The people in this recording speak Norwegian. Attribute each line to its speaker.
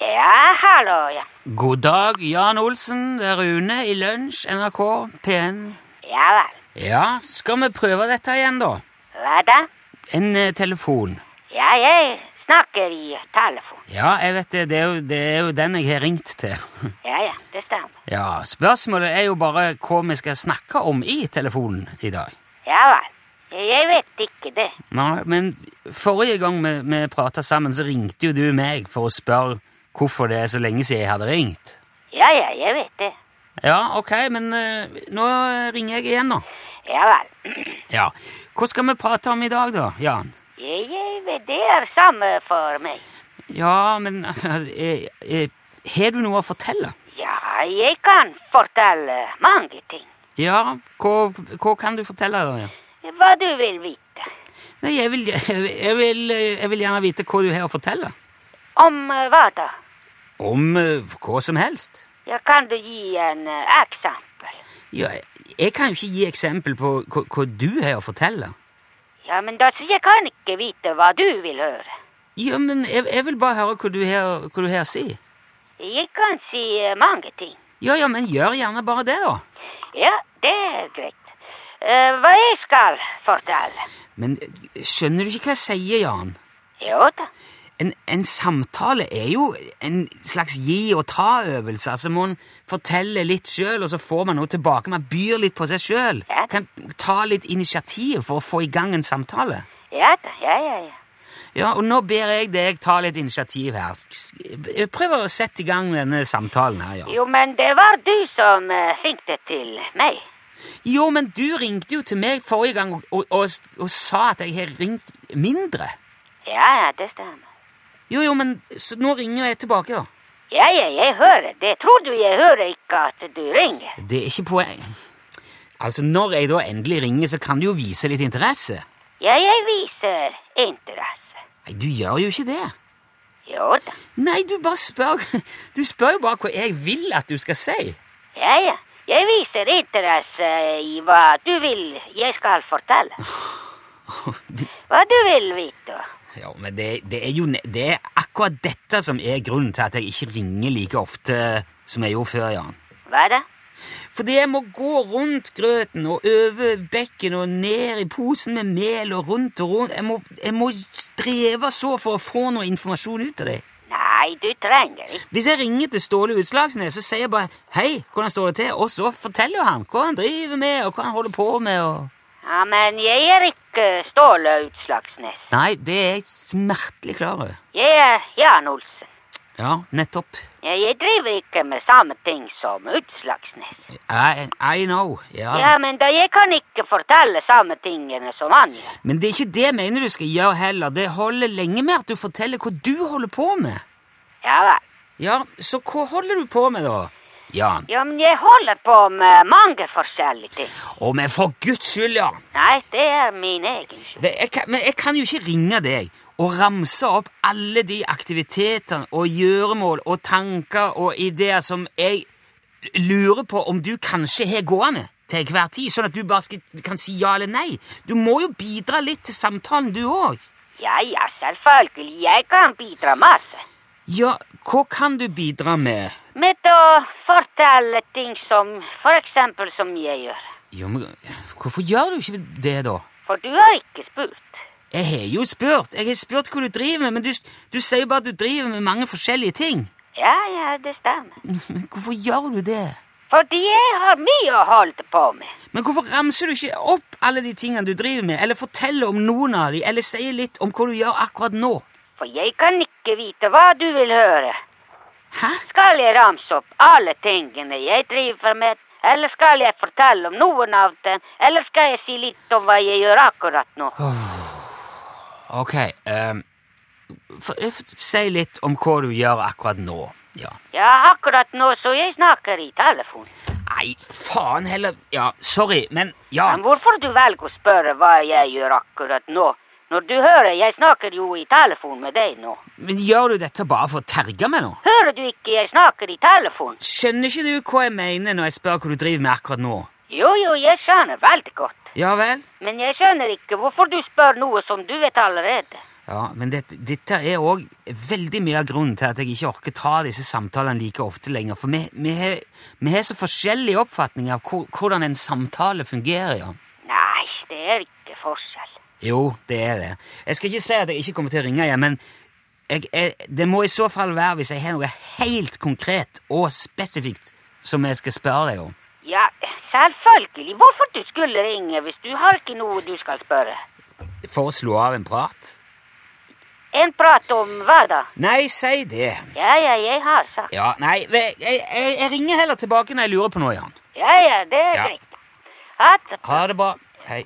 Speaker 1: her, da, ja.
Speaker 2: God dag, Jan Olsen. Det er Rune i Lunsj, NRK, P1.
Speaker 1: Ja vel.
Speaker 2: Ja, så skal vi prøve dette igjen, da.
Speaker 1: Hva da?
Speaker 2: En eh, telefon.
Speaker 1: Ja, jeg snakker i telefon.
Speaker 2: Ja, jeg vet det. Det er jo, det er jo den jeg har ringt til.
Speaker 1: Ja, ja, det stemmer.
Speaker 2: Ja, Spørsmålet er jo bare hva vi skal snakke om i telefonen i dag.
Speaker 1: Ja vel. Jeg vet ikke det.
Speaker 2: Nei, men forrige gang vi, vi prata sammen, så ringte jo du meg for å spørre hvorfor det er så lenge siden jeg hadde ringt.
Speaker 1: Ja, ja, jeg vet det.
Speaker 2: Ja, ok, men eh, nå ringer jeg igjen, da.
Speaker 1: Ja vel.
Speaker 2: Ja. Hva skal vi prate om i dag, da, Jan?
Speaker 1: Jeg, jeg vet det er samme for meg.
Speaker 2: Ja, men eh, eh, Har du noe å fortelle?
Speaker 1: Ja, jeg kan fortelle mange ting.
Speaker 2: Ja, hva, hva kan du fortelle? da, Jan?
Speaker 1: Hva du vil vite.
Speaker 2: Nei, jeg vil, jeg, vil, eh, jeg vil gjerne vite hva du har å fortelle.
Speaker 1: Om eh, hva da?
Speaker 2: Om eh, hva som helst.
Speaker 1: Ja, kan du gi en eh, eksempel?
Speaker 2: Ja, jeg kan jo ikke gi eksempel på hva, hva du har å fortelle.
Speaker 1: Ja, men da, så jeg kan ikke vite hva du vil høre.
Speaker 2: Ja, men jeg, jeg vil bare høre hva du har hva du har å si.
Speaker 1: Jeg kan si eh, mange ting.
Speaker 2: Ja, ja, men gjør gjerne bare det, da.
Speaker 1: Ja, det er greit. Eh, hva jeg skal fortelle?
Speaker 2: Men eh, skjønner du ikke hva jeg sier, Jan?
Speaker 1: Jo da.
Speaker 2: En, en samtale er jo en slags gi-og-ta-øvelse. Altså, Man forteller litt sjøl, og så får man noe tilbake. Man byr litt på seg sjøl.
Speaker 1: Ja.
Speaker 2: Kan ta litt initiativ for å få i gang en samtale.
Speaker 1: Ja da, ja, ja, ja.
Speaker 2: Ja, og nå ber jeg deg ta litt initiativ her. S- Prøv å sette i gang denne samtalen her, Jan.
Speaker 1: Jo, men det var du som eh, ringte til meg.
Speaker 2: Jo, men du ringte jo til meg forrige gang og, og, og, og sa at jeg har ringt mindre.
Speaker 1: Ja, ja, det stemmer.
Speaker 2: Jo, jo, men så nå ringer jeg tilbake, da.
Speaker 1: Ja, ja, jeg hører det. Tror du jeg hører ikke at du ringer?
Speaker 2: Det er ikke poeng. Altså, når jeg da endelig ringer, så kan du jo vise litt interesse.
Speaker 1: Ja, jeg viser interesse.
Speaker 2: Nei, du gjør jo ikke det.
Speaker 1: Jo da.
Speaker 2: Nei, du bare spør Du spør jo bare hva jeg vil at du skal si.
Speaker 1: Ja, ja. Jeg viser interesse i hva du vil jeg skal fortelle. Hva du vil vite.
Speaker 2: Ja, men det, det er jo ne- Det er akkurat dette som er grunnen til at jeg ikke ringer like ofte som jeg gjorde før, Jan.
Speaker 1: Hva da?
Speaker 2: Fordi jeg må gå rundt grøten og over bekken og ned i posen med mel og rundt og rundt. Jeg må, jeg må streve så for å få noe informasjon ut av deg.
Speaker 1: Nei, du trenger ikke.
Speaker 2: Hvis jeg ringer til Ståle Utslagsnes, så sier jeg bare 'hei, hvordan står det til?' Og så forteller jo han hva han driver med, og hva han holder på med, og
Speaker 1: Ja, men jeg er ikke Ståle Utslagsnes.
Speaker 2: Nei, det er jeg smertelig klar over.
Speaker 1: Jeg er Jan Olsen.
Speaker 2: Ja, nettopp.
Speaker 1: Ja, Jeg driver ikke med samme ting som Utslagsnes.
Speaker 2: I, I know. Ja.
Speaker 1: Ja, men da jeg kan ikke fortelle samme tingene som han gjør.
Speaker 2: Men det er ikke det jeg mener du skal gjøre heller. Det holder lenge med at du forteller hva du holder på med.
Speaker 1: Ja vel.
Speaker 2: Ja, så hva holder du på med, da? Jan.
Speaker 1: Ja, men jeg holder på med mange forskjellige ting.
Speaker 2: Å, men for guds skyld, Jan!
Speaker 1: Nei, det er min egen skyld.
Speaker 2: Det- Jeg kan, men jeg kan jo ikke ringe deg og ramse opp alle de aktivitetene og gjøremål og tanker og ideer som jeg lurer på om du kanskje har gående til hver tid, sånn at du bare skal, kan si ja eller nei. Du må jo bidra litt til samtalen, du òg.
Speaker 1: Ja, ja, selvfølgelig. Jeg kan bidra masse.
Speaker 2: Ja, hva kan du bidra med?
Speaker 1: Med å fortelle ting som For eksempel som jeg gjør.
Speaker 2: Jo, men hvorfor gjør du ikke det, da?
Speaker 1: For du har ikke spurt.
Speaker 2: Jeg har jo spurt. Jeg har spurt hva du driver med, men du, du sier jo bare at du driver med mange forskjellige ting.
Speaker 1: Ja, ja, det stemmer.
Speaker 2: Men hvorfor gjør du det?
Speaker 1: Fordi jeg har mye å holde på med.
Speaker 2: Men hvorfor ramser du ikke opp alle de tingene du driver med, eller forteller om noen av de, eller sier litt om hva du gjør akkurat nå?
Speaker 1: For jeg kan ikke vite hva du vil høre.
Speaker 2: Hæ?
Speaker 1: Skal jeg ramse opp alle tingene jeg driver med? Eller skal jeg fortelle om noen av dem? Eller skal jeg si litt om hva jeg gjør akkurat nå?
Speaker 2: Ok, ehm, for, eh, for- si litt om hva du gjør akkurat nå. Ja.
Speaker 1: Ja, akkurat nå, så jeg snakker i telefon.
Speaker 2: Nei, faen heller. Ja, sorry, men ja.
Speaker 1: Men hvorfor du velger å spørre hva jeg gjør akkurat nå? Når du hører, jeg snakker jo i telefon med deg nå.
Speaker 2: Men gjør du dette bare for å terge meg nå?
Speaker 1: Hører du ikke jeg snakker i telefon?
Speaker 2: Skjønner ikke du hva jeg mener når jeg spør hva du driver med akkurat nå?
Speaker 1: Jo, jo, jeg skjønner veldig godt.
Speaker 2: Ja vel?
Speaker 1: Men jeg skjønner ikke hvorfor du spør noe som du vet allerede.
Speaker 2: Ja, men det, dette er òg veldig mye av grunnen til at jeg ikke orker ta disse samtalene like ofte lenger. For vi, vi, har, vi har så forskjellige oppfatninger av hvor- hvordan en samtale fungerer. Jan.
Speaker 1: Nei, det er ikke forskjell.
Speaker 2: Jo, det er det. Jeg skal ikke si at jeg ikke kommer til å ringe igjen, men jeg, jeg, det må i så fall være hvis jeg har noe helt konkret og spesifikt som jeg skal spørre deg om.
Speaker 1: Ja, selvfølgelig. Hvorfor du skulle ringe hvis du har ikke noe du skal spørre?
Speaker 2: For å slå av en prat?
Speaker 1: En prat om hva da?
Speaker 2: Nei, si det.
Speaker 1: Ja, ja, jeg har sagt.
Speaker 2: Ja, nei, jeg, jeg, jeg ringer heller tilbake når jeg lurer på noe, Jan.
Speaker 1: Ja, ja, det er
Speaker 2: Ja.
Speaker 1: greit. Ha det.
Speaker 2: Ha det bra. Hei.